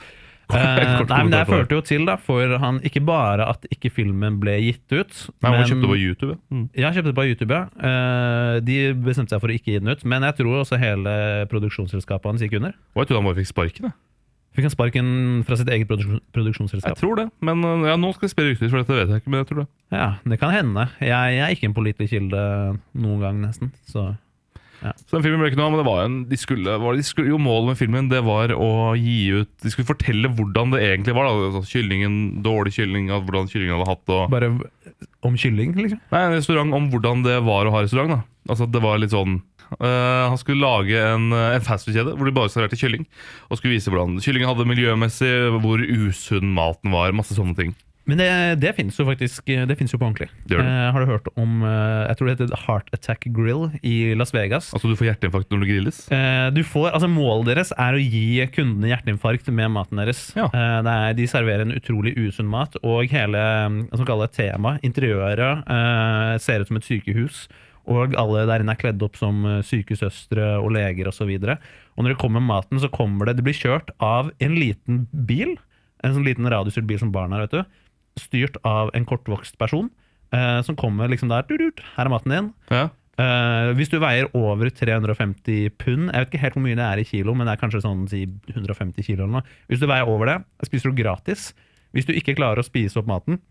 Speaker 4: Eh,
Speaker 3: Kort
Speaker 4: nei, men Det
Speaker 3: kommentar på det.
Speaker 4: førte jo til, da, for han ikke bare at ikke filmen ble gitt ut
Speaker 3: Nei, men...
Speaker 4: men-
Speaker 3: Han kjøpte på YouTube. ja. Mm.
Speaker 4: Ja, kjøpte det på YouTube, ja. Eh, De bestemte seg for å ikke gi den ut. Men jeg tror også hele produksjonsselskapet hans gikk under.
Speaker 3: Og jeg trodde han bare fikk sparken. Jeg,
Speaker 4: Fikk han sparken fra sitt eget produksjon,
Speaker 3: jeg
Speaker 4: produksjonsselskap?
Speaker 3: tror det. Men eh, ja, nå skal jeg spre rykter, for dette vet jeg ikke. men jeg tror det.
Speaker 4: Ja, det kan hende. Jeg, jeg er ikke en pålitelig kilde noen gang, nesten. Så Ja.
Speaker 3: Så den filmen ble ikke noe av, men det var jo en, de skulle, var, de skulle, jo målet med filmen det var å gi ut De skulle fortelle hvordan det egentlig var. Da. Altså, kyllingen, Dårlig kylling, at- hvordan kyllingen hadde hatt det. og-
Speaker 4: Bare om kylling, liksom?
Speaker 3: Nei, en restaurant om hvordan det var å ha restaurant. da Altså at det var litt sånn eh, Han skulle lage en, eh, en fastfood-kjede hvor de bare serverte kylling. Og skulle vise hvordan kyllingen hadde det miljømessig, hvor usunn maten var. Masse sånne ting.
Speaker 4: Men det, det fins jo faktisk Det finnes jo på ordentlig.
Speaker 3: Det gjør det.
Speaker 4: Eh, har du hørt om eh, Jeg tror det heter Heart Attack Grill i Las Vegas.
Speaker 3: Altså Du får hjerteinfarkt når du grilles.
Speaker 4: Eh, du får, altså Målet deres er å gi kundene hjerteinfarkt med maten deres.
Speaker 3: Ja.
Speaker 4: Eh, det er, de serverer en utrolig usunn mat, og hele mm, hva skal man kalle det, temaet, interiøret, eh, ser ut som et sykehus. Og alle der inne er kledd opp som eh, sykesøstre og leger osv. Og, så videre. og når det kommer maten, så kommer det Det blir kjørt av en liten bil. En sånn liten radiostyrt bil som barn har, vet du. Styrt av en kortvokst person. eh, som kommer liksom der. «Dudut, Her er maten din.
Speaker 3: Ja.
Speaker 4: Eh, hvis du veier over 350 pund Jeg vet ikke helt hvor mye det er i kilo, men det er kanskje sånn si 150 kilo eller noe. Hvis du veier over det, spiser du gratis. Hvis du ikke klarer å spise opp maten,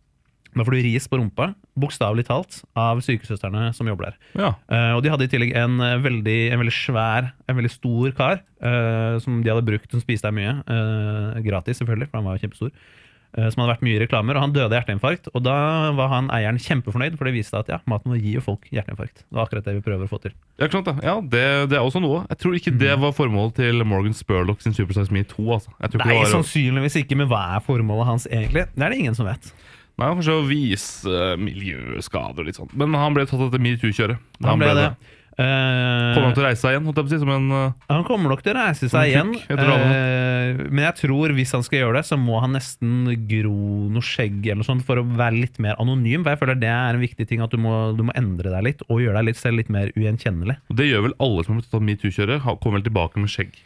Speaker 4: da får du ris på rumpa, bokstavelig talt, av sykesøstrene som jobber der.
Speaker 3: ja.
Speaker 4: Eh, og de hadde i tillegg en eh, veldig, en veldig svær, en veldig stor kar eh, som de hadde brukt, som spiste der mye. eh, gratis, selvfølgelig, for han var jo kjempestor. eh, som hadde vært mye i reklamer, og han døde av hjerteinfarkt. Og da var han eieren kjempefornøyd, for det viste at ja, maten vår gir jo folk hjerteinfarkt. Det var akkurat det vi prøver å få til.
Speaker 3: Ja, ikke sant da. ja det, det er også noe. Jeg tror ikke
Speaker 4: Mhm.
Speaker 3: det var formålet til Morgan Spurlock sin Supersize Me 2. Altså. Jeg tror ikke
Speaker 4: Nei, sånn
Speaker 3: det var,
Speaker 4: sannsynligvis ikke, men hva er formålet hans egentlig? Det er det ingen som vet.
Speaker 3: Nei, for så å vise eh, miljøskader og litt sånn. Men han ble tatt etter metoo-kjøret.
Speaker 4: Han ble det.
Speaker 3: Kommer han
Speaker 4: Uh,
Speaker 3: til å reise seg igjen? holdt jeg på å si, som en... eh,
Speaker 4: han kommer nok til å reise
Speaker 3: Som
Speaker 4: seg igjen,
Speaker 3: en kukk, etter
Speaker 4: eh, men jeg tror hvis han skal gjøre det, så må han nesten gro noe skjegg eller noe sånt for å være litt mer anonym. For jeg føler det er en viktig ting at du må, du må endre deg litt, og gjøre deg litt selv litt mer ugjenkjennelig.
Speaker 3: Og Det gjør vel alle som har blitt tatt av metoo-kjøret. ha- Kommer vel tilbake med skjegg.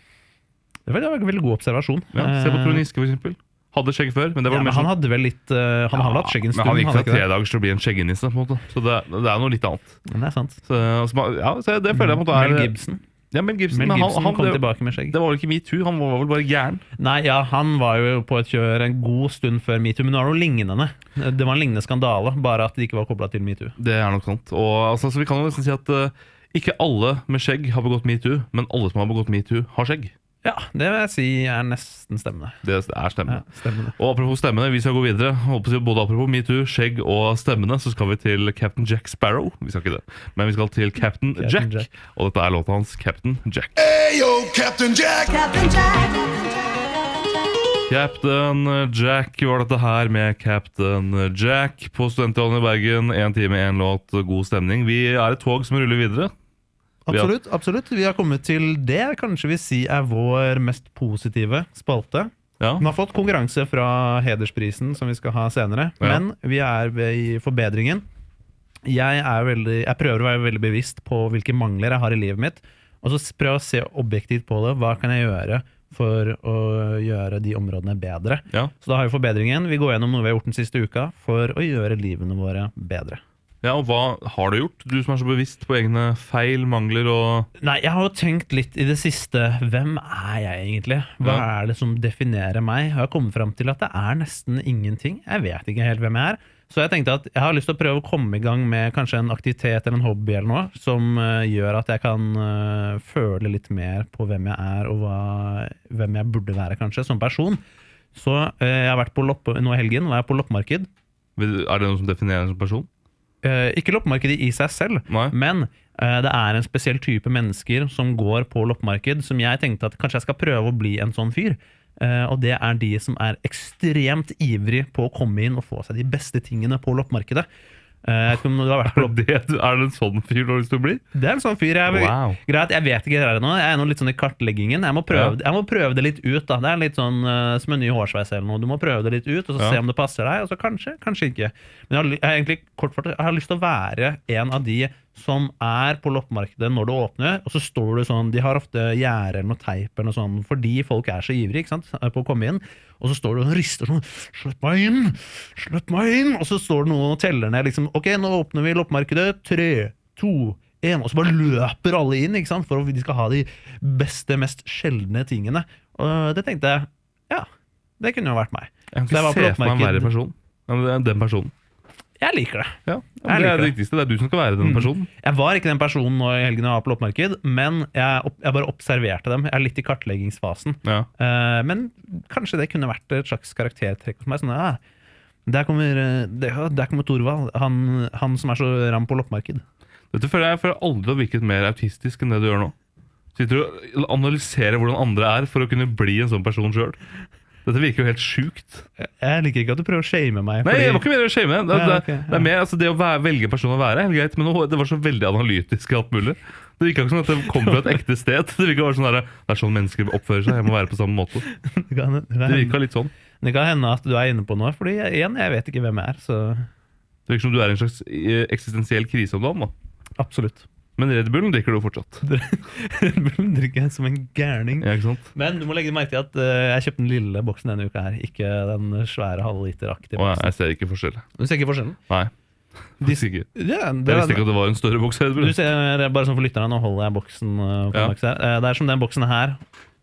Speaker 4: Det var det var en veldig god observasjon.
Speaker 3: Ja, se på
Speaker 4: Eh,
Speaker 3: Trond Giske, for eksempel. Hadde skjegg før, men det
Speaker 4: ja,
Speaker 3: var
Speaker 4: men
Speaker 3: mer
Speaker 4: han
Speaker 3: sånn-
Speaker 4: hadde vel litt eh, Han har vel hatt skjegg en
Speaker 3: Ja,
Speaker 4: stund.
Speaker 3: Men han gikk
Speaker 4: har
Speaker 3: fra
Speaker 4: ikke det?
Speaker 3: tre dager til å bli en skjeggenisse, på en måte. Så det, det er noe litt annet.
Speaker 4: Men det er sant.
Speaker 3: Så, så, man- ja, så det føler jeg på en måte er
Speaker 4: Mm. Mel Gibson,
Speaker 3: Ja, Mel Gibson,
Speaker 4: Mel
Speaker 3: men
Speaker 4: Gibson
Speaker 3: han, han,
Speaker 4: kom
Speaker 3: det,
Speaker 4: tilbake med skjegg.
Speaker 3: det var vel ikke metoo, han var vel bare gæren.
Speaker 4: Nei, ja, han var jo på et kjør en god stund før metoo, men nå er det noe lignende. Det var en lignende skandale, bare at det ikke var kobla til metoo.
Speaker 3: Det er nok sant. Og, altså, så vi kan jo nesten si at eh, ikke alle med skjegg har begått metoo, men alle som har begått metoo, har skjegg.
Speaker 4: Ja, det vil jeg si er nesten stemmende.
Speaker 3: Det er stemmene.
Speaker 4: Ja, stemmende.
Speaker 3: Og apropos stemmene, vi skal gå videre. Holdt på å si, Både apropos metoo, skjegg og stemmene, så skal vi til Captain Jack Sparrow. Vi skal ikke det, men vi skal til Captain,
Speaker 4: Captain
Speaker 3: Jack.
Speaker 4: Jack.
Speaker 3: Og dette er låta hans, Captain Jack.
Speaker 2: Hey, yo, Captain Jack.
Speaker 5: Captain Jack.
Speaker 3: Captain Jack var dette her med Captain Jack på Studentradioen i Bergen. Én time, én låt, god stemning. Vi er et tog som ruller videre.
Speaker 4: Absolutt. absolutt. Vi har kommet til det jeg kanskje vil si er vår mest positive spalte.
Speaker 3: Ja.
Speaker 4: Den har fått konkurranse fra Hedersprisen, som vi skal ha senere.
Speaker 3: Ja.
Speaker 4: Men vi er ved i forbedringen. Jeg, er veldig, jeg prøver å være veldig bevisst på hvilke mangler jeg har i livet mitt. Og så s- prøver jeg å se objektivt på det. Hva kan jeg gjøre for å gjøre de områdene bedre?
Speaker 3: Ja.
Speaker 4: Så da har vi forbedringen. Vi går gjennom noe vi har gjort den siste uka for å gjøre livene våre bedre.
Speaker 3: Ja, og hva har du gjort? Du som er så bevisst på egne feil, mangler og
Speaker 4: Nei, jeg har jo tenkt litt i det siste Hvem er jeg egentlig? Hva
Speaker 3: Ja.
Speaker 4: er det som definerer meg? Og jeg har kommet fram til at det er nesten ingenting. Jeg vet ikke helt hvem jeg er. Så jeg tenkte at jeg har lyst til å prøve å komme i gang med kanskje en aktivitet eller en hobby eller noe som eh, gjør at jeg kan eh, føle litt mer på hvem jeg er og hva, hvem jeg burde være kanskje som person. Så eh, jeg har vært på loppe, nå i helgen var jeg på loppemarked.
Speaker 3: Er det noe som definerer deg som person?
Speaker 4: Eh, ikke loppemarkedet i seg selv,
Speaker 3: Nei.
Speaker 4: men eh, det er en spesiell type mennesker som går på loppemarked, som jeg tenkte at kanskje jeg skal prøve å bli en sånn fyr. Eh, og det er de som er ekstremt ivrig på å komme inn og få seg de beste tingene på loppemarkedet. Eh, jeg vet ikke om du har vært på
Speaker 3: Er det, det du- er det en sånn fyr du har lyst til å bli?
Speaker 4: det er en sånn fyr jeg,
Speaker 3: Wow.
Speaker 4: Greit, jeg vet ikke det nå. Jeg er nå litt sånn i kartleggingen. Jeg må prøve, jeg må prøve det litt ut. da Det er litt sånn eh, som en ny hårsveis eller noe. Du må prøve det litt ut, og så
Speaker 3: Ja.
Speaker 4: se om det passer deg. Og så kanskje, kanskje ikke. Men jeg har, ly- jeg har egentlig kort fortalt, jeg har lyst til å være en av de som er på loppemarkedet når det åpner, og så står du sånn De har ofte gjerde eller noe teip eller noe sånn fordi folk er så ivrige ikke sant, eh, på å komme inn. Og så står du og rister sånn 'Slipp meg inn! Slipp meg inn!' Og så står det noen og teller ned liksom 'Ok, nå åpner vi loppemarkedet. Tre, to, én.' Og så bare løper alle inn ikke sant, for at de skal ha de beste, mest sjeldne tingene. Og det tenkte jeg Ja, det kunne jo vært meg.
Speaker 3: Jeg kan
Speaker 4: Så jeg
Speaker 3: ikke
Speaker 4: var på
Speaker 3: se for meg en
Speaker 4: loppemarked.
Speaker 3: verre person. Ja, men det er den personen.
Speaker 4: Jeg liker det.
Speaker 3: Ja,
Speaker 4: Jeg
Speaker 3: men det
Speaker 4: liker
Speaker 3: er det
Speaker 4: det. Mm.
Speaker 3: viktigste. Det er du som skal være den personen.
Speaker 4: Jeg var ikke den personen nå i helgen jeg var på loppemarked, men jeg, opp, jeg bare observerte dem. Jeg er litt i kartleggingsfasen.
Speaker 3: Ja.
Speaker 4: Eh, men kanskje det kunne vært et slags karaktertrekk hos meg. Sånn, ah, der kommer, eh, det- ja, der kommer Thorvald, han, han som er så ram på loppemarked.
Speaker 3: Dette føler jeg, jeg føler aldri å virket mer autistisk enn det du gjør nå. Sitter og analyserer hvordan andre er for å kunne bli en sånn person sjøl. Dette virker jo helt sjukt.
Speaker 4: Jeg liker ikke at du prøver å shame meg.
Speaker 3: Nei,
Speaker 4: fordi-
Speaker 3: jeg var ikke mer å shame. Det,
Speaker 4: Nei,
Speaker 3: det,
Speaker 4: ok, ja.
Speaker 3: det er mer altså, det å være, velge en person å være, er helt greit, men nå- det var så veldig analytisk i alt mulig. Det virka ikke som at det kom fra et ekte sted. Det virka bare sånn der, Det er sånn mennesker oppfører seg. Jeg må være på samme måte.
Speaker 4: det, kan, det,
Speaker 3: Det
Speaker 4: kan hende,
Speaker 3: virka litt sånn.
Speaker 4: det kan hende at du er inne på noe, fordi jeg- igjen, jeg vet ikke hvem jeg er. Så
Speaker 3: Det virker som du er i en slags eh, eksistensiell krise om dagen. da.
Speaker 4: absolutt.
Speaker 3: Men Red Bullen drikker du jo fortsatt.
Speaker 4: Drikker jeg som en gærning.
Speaker 3: Ja, ikke sant?
Speaker 4: Men du må legge merke til at eh, jeg kjøpte den lille boksen denne uka her, ikke den svære
Speaker 3: Å, jeg,
Speaker 4: halvliteraktige boksen.
Speaker 3: jeg ser ikke forskjell.
Speaker 4: Du ser ikke forskjellen?
Speaker 3: Nei. faktisk ikke.
Speaker 4: Ja,
Speaker 3: Jeg
Speaker 4: det var-
Speaker 3: visste ikke at det var en større boks Red Bull.
Speaker 4: du ser, bare sånn for lytterne, nå holder jeg boksen eh, på
Speaker 3: Ja.
Speaker 4: maks her. Eh, Det er som den boksen her.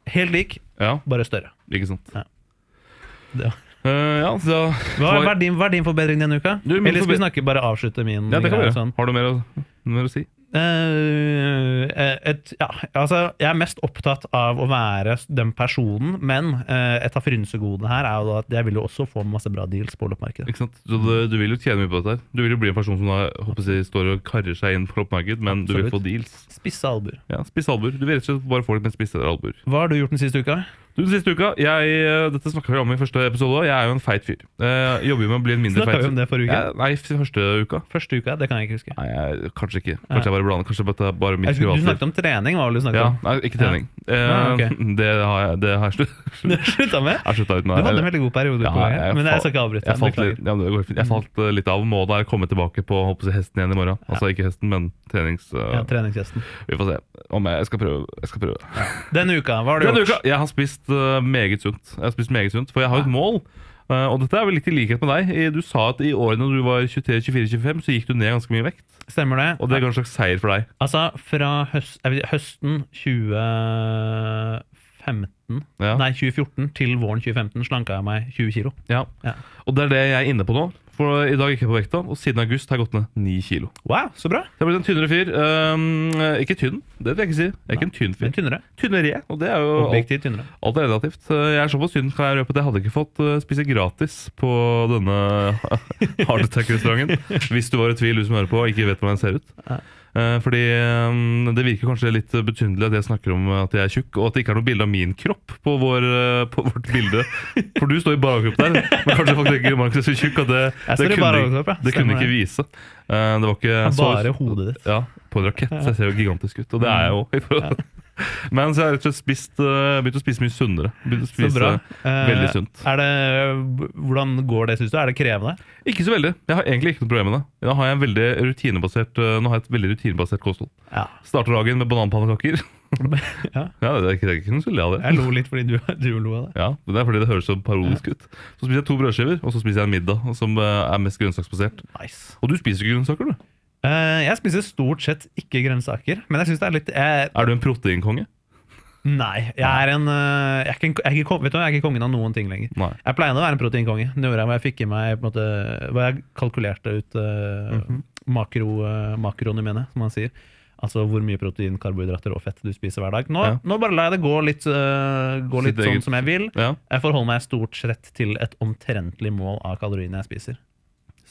Speaker 4: Helt lik,
Speaker 3: Ja,
Speaker 4: bare større.
Speaker 3: ikke sant.
Speaker 4: Ja. Det var-
Speaker 3: Eh, ja, så da
Speaker 4: Hva hva er din, hva er din forbedring denne uka?
Speaker 3: Du, min
Speaker 4: Eller skal vi
Speaker 3: forbe-
Speaker 4: snakke bare avslutte min?
Speaker 3: Ja, det kan vi
Speaker 4: greie,
Speaker 3: gjøre.
Speaker 4: sånn?
Speaker 3: Har du mer å, mer å si?
Speaker 4: Eh, et, ja, altså, jeg er mest opptatt av å være den personen, men eh, et av frynsegodene her er jo da at jeg vil jo også få masse bra deals på loppemarkedet.
Speaker 3: Ikke sant? Så du, du vil jo tjene mye på dette her. Du vil jo bli en person som da, håper jeg, står og karrer seg inn på loppemarked, men du vil
Speaker 4: Absolutt.
Speaker 3: få deals.
Speaker 4: Spisse albuer.
Speaker 3: Ja, Spisse albuer. Du vil rett og slett bare få litt mer spisse albuer.
Speaker 4: Hva har du gjort den siste uka?
Speaker 3: Du, Den siste uka jeg, eh, Dette snakka vi om i første episode også, Jeg er jo en feit fyr. Eh, jobber jo med å bli en mindre
Speaker 4: Snakka
Speaker 3: feit
Speaker 4: vi om det forrige uke?
Speaker 3: Jeg- nei, første uka.
Speaker 4: Første uka? Det kan jeg ikke huske.
Speaker 3: Nei, jeg, kanskje ikke.
Speaker 4: Nei.
Speaker 3: Kanskje jeg bare blander. Kanskje dette er bare mitt
Speaker 4: Jeg husker, du
Speaker 3: privatliv.
Speaker 4: snakket om trening, hva var det du snakket
Speaker 3: Ja,
Speaker 4: om?
Speaker 3: nei, ikke trening.
Speaker 4: Ah,
Speaker 3: Eh,
Speaker 4: ok.
Speaker 3: Det har jeg, det har jeg slutt.
Speaker 4: Det slutta med?
Speaker 3: Jeg slutta ut
Speaker 4: Du
Speaker 3: med
Speaker 4: hadde en veldig god periode, på gang, men jeg
Speaker 3: fa-
Speaker 4: skal ikke avbryte.
Speaker 3: Jeg
Speaker 4: deg,
Speaker 3: falt,
Speaker 4: beklager. Mm.
Speaker 3: litt, ja, men det går fint. jeg falt eh, litt av. Må da komme tilbake på håper jeg, hesten igjen i morgen. Altså ikke hesten, men trenings... eh,
Speaker 4: Ja, treningsgjesten.
Speaker 3: vi får se. Om jeg, jeg skal prøve. Jeg skal prøve.
Speaker 4: Denne uka, hva har du
Speaker 3: Denne
Speaker 4: gjort?
Speaker 3: uka, jeg har spist eh, meget sunt. Jeg har spist meget sunt, For jeg har jo et mål. eh, og dette er vel litt i likhet med deg. I- Du sa at i årene du var 23-24-25, så gikk du ned ganske mye vekt.
Speaker 4: Stemmer det?
Speaker 3: Og det ga en slags seier for deg.
Speaker 4: Altså, fra høst, jeg vil si høsten 2015
Speaker 3: Ja.
Speaker 4: Nei, 2014 til våren 2015 slanka jeg meg 20 kilo.
Speaker 3: Ja.
Speaker 4: Ja.
Speaker 3: Og det er det jeg er inne på nå. For i dag gikk jeg på vekta, og siden august har jeg gått ned 9 kilo.
Speaker 4: Wow, så bra!
Speaker 3: Jeg har blitt en tynnere fyr. Ehm, ikke tynn, det vil jeg ikke si. Jeg er ikke en tynn fyr.
Speaker 4: Men tynnere.
Speaker 3: Tynnere, og det er jo alt,
Speaker 4: Objektivt tynnere.
Speaker 3: alt er relativt. Eh, Jeg er såpass tynn kan jeg røpe at jeg hadde ikke fått eh, spise gratis på denne Hard Attack-restauranten. Hvis du var i tvil, du som hører på, og ikke vet hvordan jeg ser ut.
Speaker 4: Nei.
Speaker 3: Eh, Fordi ehm, det virker kanskje litt betydelig at jeg snakker om at jeg er tjukk, og at det ikke er noe bilde av min kropp på, vår, eh, på vårt bilde. For du står i barkropp der, men kanskje faktisk ikke Markus er så tjukk at det,
Speaker 4: Jeg
Speaker 3: det
Speaker 4: står i
Speaker 3: kunne,
Speaker 4: barkropp, ja.
Speaker 3: det kunne
Speaker 4: Stemmer
Speaker 3: ikke
Speaker 4: det.
Speaker 3: vise. Eh, Det var ikke så-
Speaker 4: Bare hodet ditt.
Speaker 3: ja, på en rakett. Så jeg ser jo gigantisk ut. Og det er jeg òg. Men så har jeg rett og slett spist, eh, begynt å spise mye sunnere. Begynt å
Speaker 4: Så
Speaker 3: spise
Speaker 4: bra.
Speaker 3: veldig
Speaker 4: Eh,
Speaker 3: sunt.
Speaker 4: Er det, hvordan går det, syns du? Er det krevende?
Speaker 3: Ikke så veldig. Jeg har egentlig ikke noe problem med det. Nå har jeg, en veldig rutinebasert, eh, nå har jeg et veldig rutinebasert kosthold.
Speaker 4: Ja.
Speaker 3: Starter dagen med bananpannekaker.
Speaker 4: ja.
Speaker 3: Ja, det er ikke, det er ikke noe skyldig av det.
Speaker 4: Jeg lo litt fordi du, du lo av det.
Speaker 3: Ja, men Det er fordi det høres så parodisk ut. Så spiser jeg to brødskiver, og så spiser jeg en middag som eh, er mest grønnsaksbasert.
Speaker 4: Nice.
Speaker 3: Og du spiser ikke grønnsaker, du.
Speaker 4: Eh, jeg spiser stort sett ikke grønnsaker, men jeg syns det er litt jeg,
Speaker 3: Er du en proteinkonge?
Speaker 4: Nei. Jeg er en eh, jeg er ikke, en- jeg er ikke, kon- Vet du hva, jeg er ikke kongen av noen ting lenger.
Speaker 3: Nei.
Speaker 4: Jeg pleide å være en proteinkonge. Det gjorde jeg hvor jeg fikk i meg på en måte, Hvor jeg kalkulerte ut eh,
Speaker 3: Mhm.
Speaker 4: makro, eh, makroene mine, som man sier. Altså hvor mye protein, karbohydrater og fett du spiser hver dag. Nå,
Speaker 3: Ja.
Speaker 4: nå bare lar jeg det gå litt, eh,
Speaker 3: Sitt
Speaker 4: gå litt sånn
Speaker 3: eget-
Speaker 4: som jeg vil.
Speaker 3: Ja,
Speaker 4: Jeg forholder meg stort sett til et omtrentlig mål av kaloriene jeg spiser.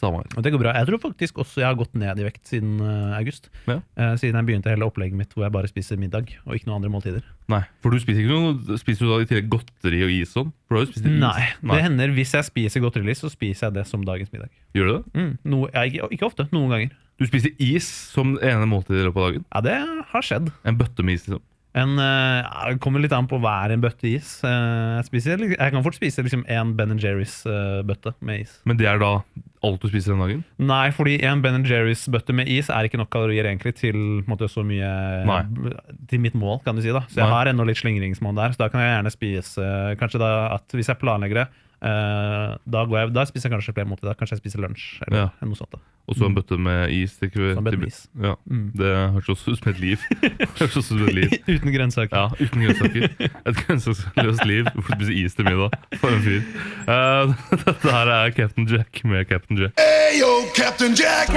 Speaker 3: samme her.
Speaker 4: Og det går bra. Jeg tror faktisk også jeg har gått ned i vekt siden eh, august.
Speaker 3: Ja.
Speaker 4: Eh, siden jeg begynte hele opplegget mitt hvor jeg bare spiser middag og ikke noen andre måltider.
Speaker 3: Nei, For du spiser ikke noe Spiser du da i tillegg godteri og is sånn? For du har jo spist is.
Speaker 4: Nei, det hender hvis jeg spiser godteri, så spiser jeg det som dagens middag.
Speaker 3: Gjør du det?
Speaker 4: Mm, noe- ja, ikke, ikke ofte, noen ganger.
Speaker 3: Du spiser is som det ene måltidet i løpet av dagen?
Speaker 4: Ja, det har skjedd.
Speaker 3: En bøtte med is, liksom?
Speaker 4: En, eh, ja, det kommer litt an på hver en bøtte is. Eh, jeg, spiser, li- jeg kan fort spise liksom en Ben Jerry's-bøtte med is.
Speaker 3: Men det er da alt du spiser den dagen?
Speaker 4: Nei, fordi en Ben Jerry's-bøtte med is er ikke nok kalorier egentlig til på en måte, så mye
Speaker 3: Nei.
Speaker 4: Til mitt mål, kan du si. da Så jeg
Speaker 3: Nei.
Speaker 4: har ennå litt slingringsmål der. Så da kan jeg gjerne spise eh, Kanskje da at hvis jeg planlegger det Eh, da, går jeg, da spiser jeg kanskje flere måltider. Kanskje jeg spiser lunsj eller
Speaker 3: Ja.
Speaker 4: eller noe sånt. da.
Speaker 3: Og så en bøtte med is. Til, til,
Speaker 4: Mm. Så en bøtte med is.
Speaker 3: Ja,
Speaker 4: Mm.
Speaker 3: Det hørtes også ut som et liv. Hørtes også ut som et liv.
Speaker 4: Uten grønnsaker.
Speaker 3: Ja, uten grønnsaker. Et grønnsaksløst liv. Hvorfor spise is til middag? For en fyr. Eh, dette her er Captain Jack med Captain Jack.
Speaker 2: Ayo, Captain Jack.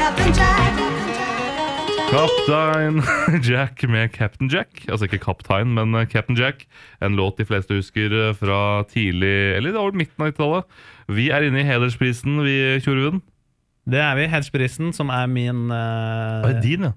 Speaker 3: Kaptein Jack med Captain Jack. Altså ikke kaptein, men eh, Captain Jack. En låt de fleste husker eh, fra tidlig Eller det var vel midten av 90-tallet. Vi er inne i hedersprisen, vi, Tjorven.
Speaker 4: Det er vi. Hedgeprisen, som er min eh,
Speaker 3: Ah, din, ja.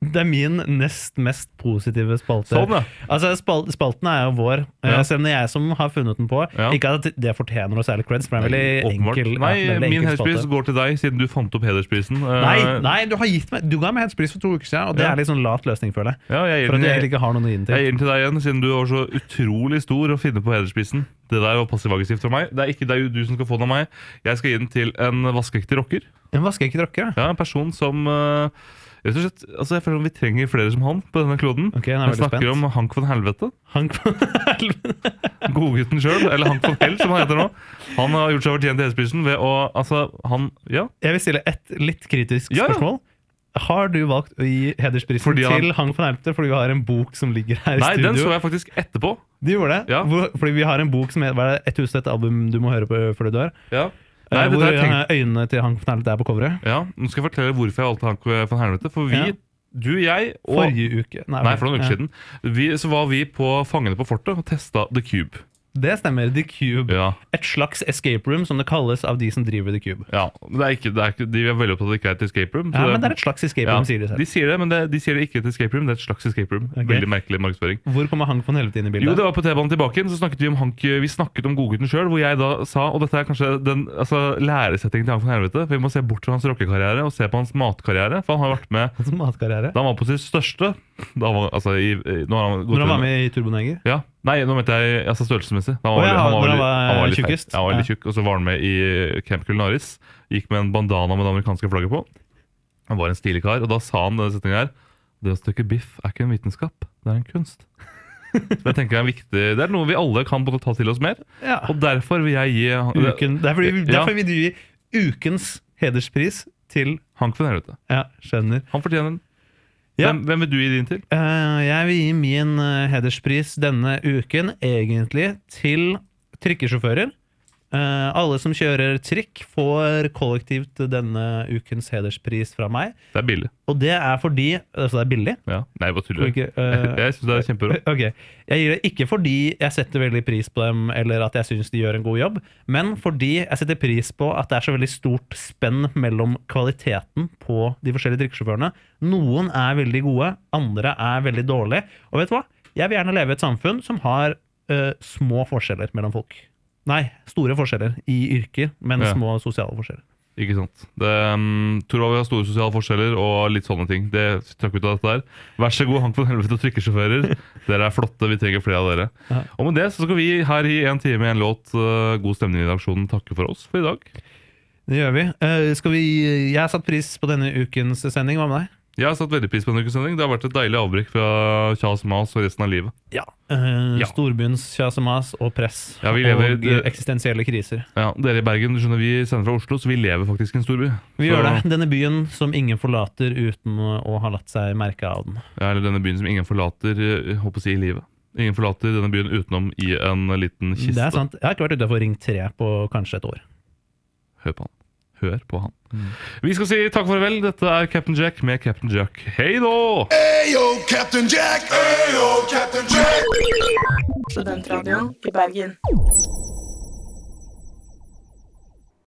Speaker 4: Det er min nest mest positive spalte.
Speaker 3: Sånn, ja.
Speaker 4: Altså, spal Spalten er jo vår, eh,
Speaker 3: Ja.
Speaker 4: selv om det er jeg som har funnet den på.
Speaker 3: Ja.
Speaker 4: Ikke at det fortjener noe særlig creds, for det er en veldig
Speaker 3: Åpenbart.
Speaker 4: enkel,
Speaker 3: Nei,
Speaker 4: ja, det er en veldig
Speaker 3: min
Speaker 4: enkel spalte.
Speaker 3: hederspris går til deg, siden du fant opp hedersprisen. Eh,
Speaker 4: Nei, nei, du har gitt meg Du ga meg hedgepris for to uker siden, og det
Speaker 3: Ja.
Speaker 4: er litt sånn lat løsning, føler jeg.
Speaker 3: Ja, jeg gir
Speaker 4: For at
Speaker 3: den-
Speaker 4: jeg egentlig ikke har noen å gi den
Speaker 3: Jeg
Speaker 4: til.
Speaker 3: gir den til deg igjen, siden du var så utrolig stor å finne på hedersprisen. Det der var passiv-aggressivt fra meg. Det er ikke det er jo du som skal få den av meg. Jeg skal gi den til en vaskeekte rocker.
Speaker 4: Men hva skal jeg ikke drokke? da?
Speaker 3: Ja, En person som eh, Rett og slett, altså jeg føler som Vi trenger flere som han på denne kloden.
Speaker 4: Ok, nå er
Speaker 3: jeg
Speaker 4: jeg veldig
Speaker 3: snakker
Speaker 4: spent.
Speaker 3: om Hank von Helvete.
Speaker 4: Hank
Speaker 3: Godgutten sjøl, eller Hank von Hell, som han heter nå. Han har gjort seg fortjent til hedersprisen ved å Altså, han Ja.
Speaker 4: Jeg vil stille et litt kritisk
Speaker 3: Ja, ja.
Speaker 4: spørsmål. Har du valgt å gi hedersprisen
Speaker 3: Fordi han-
Speaker 4: til Hank von Helvete fordi vi har en bok som ligger her i
Speaker 3: Nei, den så
Speaker 4: studio?
Speaker 3: jeg faktisk etterpå.
Speaker 4: Du gjorde det?
Speaker 3: Ja.
Speaker 4: Hvor, fordi vi har en bok som heter hva er det, 1001 album du må høre på før du dør.
Speaker 3: Ja. Nei,
Speaker 4: Nei,
Speaker 3: det
Speaker 4: Eh, hvor
Speaker 3: der tenkte,
Speaker 4: øynene- øynene til Hank von Helvete er på coveret.
Speaker 3: ja, Nå skal jeg fortelle hvorfor jeg valgte Hank von Helvete. For vi,
Speaker 4: Ja.
Speaker 3: du, jeg og
Speaker 4: Forrige uke.
Speaker 3: Nei, for noen uker
Speaker 4: ja.
Speaker 3: siden. Vi, så var vi på Fangene på fortet og testa The Cube.
Speaker 4: Det stemmer. The Cube.
Speaker 3: Ja,
Speaker 4: Et slags escape room, som det kalles av de som driver The Cube.
Speaker 3: ja. men Det er ikke, det er ikke, de er veldig opptatt av at det ikke er et escape room. så
Speaker 4: Ja, men det er et slags escape
Speaker 3: ja,
Speaker 4: room, sier de selv.
Speaker 3: De sier det, men det, de sier det ikke er et escape room. Det er et slags escape room.
Speaker 4: Ok.
Speaker 3: Veldig merkelig markedsføring.
Speaker 4: Hvor kommer Hank von Helvete inn i bildet?
Speaker 3: Jo, det var på T-banen tilbake igjen, så snakket vi om Hank, vi snakket om godgutten sjøl, hvor jeg da sa Og dette er kanskje den altså, læresettingen til Hank von Helvete. For vi må se bort fra hans rockekarriere og se på hans matkarriere. For han har vært med
Speaker 4: Som matkarriere.
Speaker 3: da han var på sitt største. Da han var, altså, i, i, nå har han gått
Speaker 4: Når han
Speaker 3: under-
Speaker 4: var med i Turboneger.
Speaker 3: Ja, Nei, nå mente jeg altså størrelsesmessig. Han
Speaker 4: Å ja,
Speaker 3: veldig-
Speaker 4: hvor han
Speaker 3: veldig-
Speaker 4: var eh,
Speaker 3: litt feit.
Speaker 4: tjukkest.
Speaker 3: Ja, han var veldig
Speaker 4: Ja.
Speaker 3: tjukk, Og så var han med i eh, Camp Culinaris. Gikk med en bandana med det amerikanske flagget på. Han var en stilig kar, og da sa han denne setningen her. Det å stykke biff er ikke en vitenskap, det er en kunst. Så jeg tenker Det er viktig, det er noe vi alle kan både ta til oss mer.
Speaker 4: Ja.
Speaker 3: Og derfor vil jeg gi han- det-
Speaker 4: Uken, derfor,
Speaker 3: Ja.
Speaker 4: derfor vil du gi ukens hederspris til
Speaker 3: Hank von Helvete.
Speaker 4: Ja, skjønner.
Speaker 3: Han fortjener den.
Speaker 4: Ja.
Speaker 3: Hvem, hvem vil du gi din til?
Speaker 4: Eh, jeg vil gi min eh, hederspris denne uken egentlig til trikkesjåfører. Eh, alle som kjører trikk, får kollektivt denne ukens hederspris fra meg.
Speaker 3: Det er billig.
Speaker 4: Og det er fordi Altså, det er billig.
Speaker 3: Ja. Nei, bare tuller.
Speaker 4: Tror
Speaker 3: Jeg,
Speaker 4: ikke, eh,
Speaker 3: jeg syns det er kjemperått.
Speaker 4: Ok, Jeg gir det ikke fordi jeg setter veldig pris på dem, eller at jeg syns de gjør en god jobb, men fordi jeg setter pris på at det er så veldig stort spenn mellom kvaliteten på de forskjellige drikkesjåførene. Noen er veldig gode, andre er veldig dårlige. Og vet du hva? Jeg vil gjerne leve i et samfunn som har eh, små forskjeller mellom folk. Nei, store forskjeller i yrker, men
Speaker 3: Ja.
Speaker 4: små sosiale forskjeller.
Speaker 3: Ikke sant. Det, um, Torvald, vi har store sosiale forskjeller og litt sånne ting. Det trakk vi ut av dette der. Vær så god, Hank von Helvete og trykkesjåfører. Dere er flotte, vi trenger flere av dere.
Speaker 4: Ja.
Speaker 3: Og med det så skal vi her i en time i en låt, uh, God stemning i redaksjonen, takke for oss for i dag.
Speaker 4: Det gjør vi. Eh, skal vi jeg har satt pris på denne ukens sending. Hva med deg?
Speaker 3: Jeg har satt veldig pris på denne ukens sending. Det har vært et deilig avbrekk fra kjas og mas og resten av livet.
Speaker 4: Ja.
Speaker 3: Ja.
Speaker 4: Eh, Storbyens kjas og mas og press
Speaker 3: Ja, vi lever-
Speaker 4: og
Speaker 3: det-
Speaker 4: eksistensielle kriser.
Speaker 3: Ja, Dere i Bergen, du skjønner, vi sender fra Oslo, så vi lever faktisk i en storby.
Speaker 4: Vi
Speaker 3: så,
Speaker 4: gjør det. Denne byen som ingen forlater uten å ha latt seg merke av den.
Speaker 3: Ja, Eller denne byen som ingen forlater, uh, håper å si, i livet. Ingen forlater denne byen utenom i en liten kiste.
Speaker 4: Det er sant. Jeg har ikke vært utafor Ring 3 på kanskje et år.
Speaker 3: Hør på han. Hør på han. Vi skal si takk og farvel. Dette er Captain Jack med Captain Jack. Hei da!
Speaker 2: Ayo, Captain Jack. Ayo, Captain Jack.
Speaker 5: Studentradioen i Bergen.